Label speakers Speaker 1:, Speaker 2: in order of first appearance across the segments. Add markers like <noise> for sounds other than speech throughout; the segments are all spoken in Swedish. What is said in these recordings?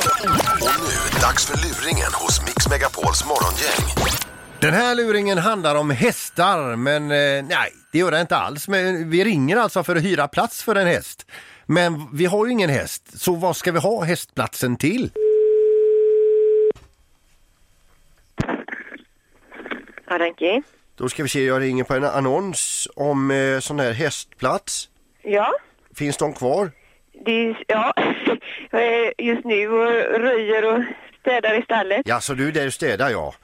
Speaker 1: Och nu, dags för luringen hos Mix Megapols morgongäng.
Speaker 2: Den här luringen handlar om hästar, men eh, nej, det gör det inte alls. Men vi ringer alltså för att hyra plats för en häst. Men vi har ju ingen häst, så vad ska vi ha hästplatsen till?
Speaker 3: Haranki?
Speaker 2: Då ska vi se, jag ringer på en annons om eh, sån här hästplats.
Speaker 3: Ja,
Speaker 2: Finns de kvar?
Speaker 3: det är, ja. <laughs> Jag är just nu och röjer och städar i stallet.
Speaker 2: Ja, så du är där och städar ja.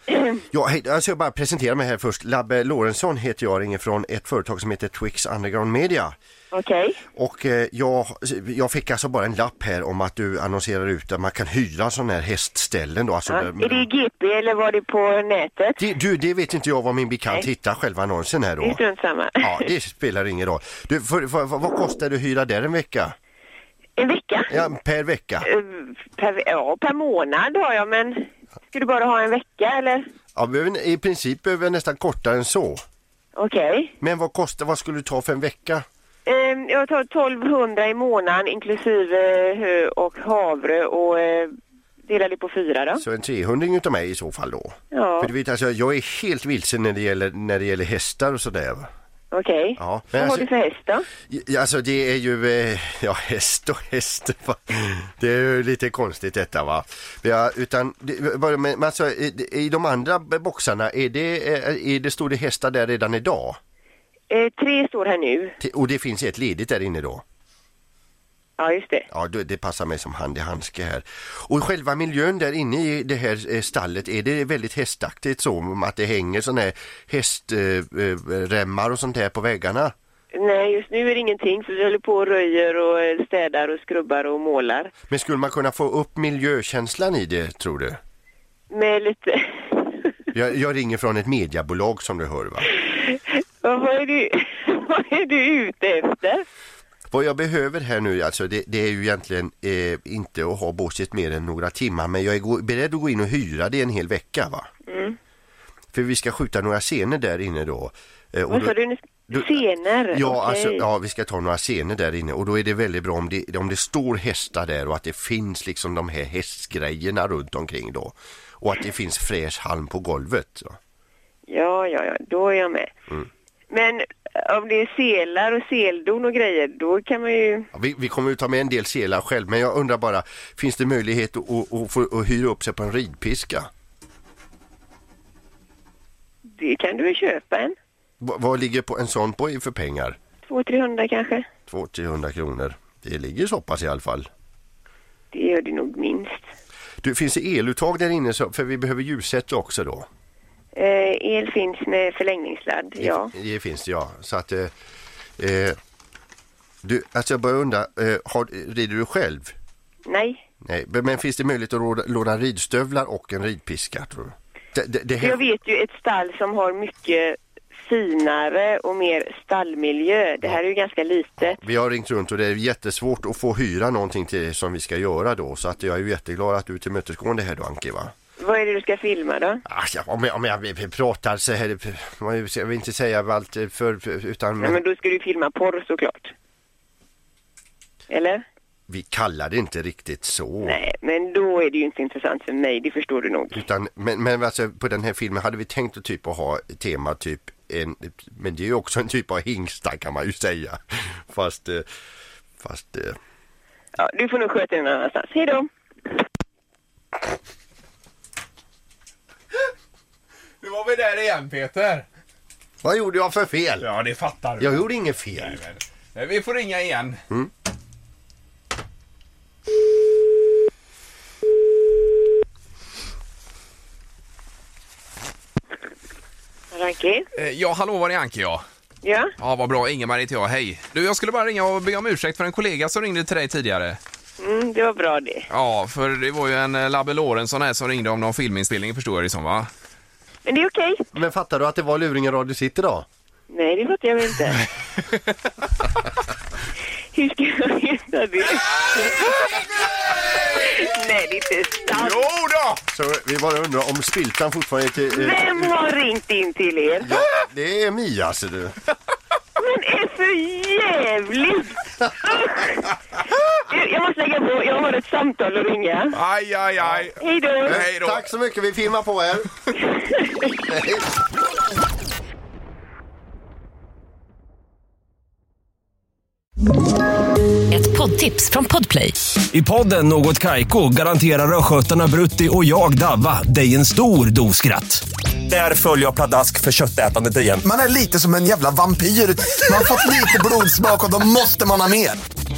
Speaker 2: ja hej, alltså jag bara presenterar mig här först. Labbe Lorentzon heter jag, ringer från ett företag som heter Twix Underground Media.
Speaker 3: Okej.
Speaker 2: Och eh, jag, jag fick alltså bara en lapp här om att du annonserar ut att man kan hyra sådana här hästställen då. Alltså,
Speaker 3: Ja.
Speaker 2: där-
Speaker 3: Är det i GP eller var det på nätet?
Speaker 2: det, du, det vet inte jag vad min bekant
Speaker 3: Nej.
Speaker 2: hittar själva annonsen här
Speaker 3: Det är
Speaker 2: då.
Speaker 3: strunt samma.
Speaker 2: Ja, det spelar ingen roll. Du, för, för, vad kostar det att hyra där en vecka?
Speaker 3: <laughs> En vecka?
Speaker 2: Ja, per vecka?
Speaker 3: Eh, Per, ja, per månad har jag, men ska du bara ha en vecka eller?
Speaker 2: Ja, men I princip behöver jag nästan kortare än så.
Speaker 3: Okej.
Speaker 2: Men vad kostar, vad skulle du ta för en vecka?
Speaker 3: Eh, Jag tar 1200 i månaden inklusive eh, hö och havre och eh, delar det på fyra då.
Speaker 2: Så en 300 utav mig i så fall då.
Speaker 3: Ja,
Speaker 2: För du vet, alltså, jag är helt vilsen när det gäller, när det gäller hästar och sådär. va.
Speaker 3: okej.
Speaker 2: Ja, men
Speaker 3: Vad har
Speaker 2: alltså-
Speaker 3: du för häst då?
Speaker 2: Ja, Alltså det är ju, eh, ja häst och häst, <laughs> va? det är ju lite konstigt detta va. Ja, utan, det, bara, men men alltså, i, i de andra boxarna, är det, eh, är det, står det hästar där redan idag?
Speaker 3: Eh, tre står här nu.
Speaker 2: Ti- Och det finns ett ledigt där inne då?
Speaker 3: Ja, just det.
Speaker 2: Ja, det, det passar mig som hand i handske här. Och själva miljön där inne i det här eh, stallet, är det väldigt hästaktigt så? om Att det hänger sådana här hästremmar och sånt här på väggarna?
Speaker 3: Nej, just nu är det ingenting för vi håller på och röjer och eh, städar och skrubbar och målar.
Speaker 2: Men skulle man kunna få upp miljökänslan i det, tror du?
Speaker 3: Med lite... <laughs>
Speaker 2: Jag, jag ringer från ett mediebolag som du hör va?
Speaker 3: Vad vad är du, <laughs> vad är du ute efter?
Speaker 2: Vad jag behöver här nu alltså det, det är ju egentligen eh, inte att ha båset mer än några timmar men jag är go- beredd att gå in och hyra det en hel vecka va?
Speaker 3: Mm.
Speaker 2: För vi ska skjuta några scener där inne då. Eh, och
Speaker 3: Vad
Speaker 2: då-
Speaker 3: sa du nu?
Speaker 2: du-
Speaker 3: Scener?
Speaker 2: Ja,
Speaker 3: Okej.
Speaker 2: alltså, ja, vi ska ta några scener där inne och då är det väldigt bra om det, om det står hästar där och att det finns liksom de här hästgrejerna runt omkring då. Och att det finns fräsch halm på golvet. va?
Speaker 3: ja, ja, ja, då är jag med.
Speaker 2: Mm.
Speaker 3: Men eh, om det är selar och seldon och grejer, då kan man ju...
Speaker 2: Ja, Vi, vi kommer ju ta med en del selar själv, men jag undrar bara, finns det möjlighet att, att, att, få- att hyra upp sig på en ridpiska?
Speaker 3: Det kan du väl köpa en?
Speaker 2: Va- vad ligger på en sån på i för pengar?
Speaker 3: 200-300 kanske?
Speaker 2: 200-300 kronor. Det ligger så pass i alla fall.
Speaker 3: Det gör det nog minst.
Speaker 2: Du, finns det eluttag där inne? Så, för vi behöver ljussätta också då.
Speaker 3: Eh, el finns med förlängningssladd, ja.
Speaker 2: Det, det finns det, ja. Så att... Eh, eh, du, alltså jag börjar undra, eh, har, rider du själv?
Speaker 3: Nej,
Speaker 2: Nej, men men finns det möjlighet att råda- låna ridstövlar och en ridpiska tror du? Det, det, det här-
Speaker 3: Jag vet ju ett stall som har mycket finare och mer stallmiljö. Det här är ju ganska litet.
Speaker 2: Vi har ringt runt och det är jättesvårt att få hyra någonting till det som vi ska göra då. Så att jag är ju jätteglad att du är tillmötesgående här då Anki va?
Speaker 3: Vad är det du ska filma då?
Speaker 2: Ah, ja, om, jag, om jag pratar så här, man ska- jag vill inte säga allt för, för- utan
Speaker 3: Nej, men då ska du filma porr såklart. Eller?
Speaker 2: vi kallar det inte riktigt så.
Speaker 3: Nej, men då är det ju inte intressant för mig, det förstår du nog.
Speaker 2: Utan, men men alltså, på den här filmen hade vi tänkt att typ att ha tema typ en, men det är ju också en typ av hingstar kan man ju säga. Fast, eh, fast eh,
Speaker 3: Ja, du får nog sköta dig någon annanstans. Hej då!
Speaker 4: Nu var vi där igen Peter.
Speaker 2: vad gjorde jag för fel?
Speaker 4: Ja det fattar du.
Speaker 2: Jag gjorde inget fel.
Speaker 4: Jajamän. Nej, Eh, Vi får ringa igen.
Speaker 3: Ranki?
Speaker 4: Eh, Ja hallå var det Anke ja.
Speaker 3: Ja?
Speaker 4: Ja vad bra Ingemar heter jag, hej. Du jag skulle bara ringa och be om ursäkt för en kollega som ringde till dig tidigare.
Speaker 3: Mm, det var bra det.
Speaker 4: Ja för det var ju en eh, Labbe Lorentzon här som ringde om någon filminspelning förstår jag det som va?
Speaker 3: Men det är okej.
Speaker 2: Men fattar du att det var Luringen Radio City då?
Speaker 3: Nej, det fattar jag väl inte. Hur ska jag veta det? Nej, det är inte sant.
Speaker 4: Jo då!
Speaker 2: Så vi bara undrar om Spiltan fortfarande är till... eh,
Speaker 3: Vem har ringt in till er?
Speaker 2: Ja, det är Mia ser du.
Speaker 3: Men är för jävligt! Du, jag måste lägga på. Jag har ett samtal att ringa.
Speaker 4: Aj, aj, aj.
Speaker 3: Hej då!
Speaker 4: Hej då.
Speaker 2: Tack så mycket, vi filmar på er. Hej.
Speaker 5: Ett poddtips från Podplay.
Speaker 6: I podden Något Kaiko garanterar östgötarna Brutti och jag, Davva, dig en stor dos skratt. Där följer jag pladask för köttätandet igen.
Speaker 7: Man är lite som en jävla vampyr. Man har fått lite blodsmak och då måste man ha mer.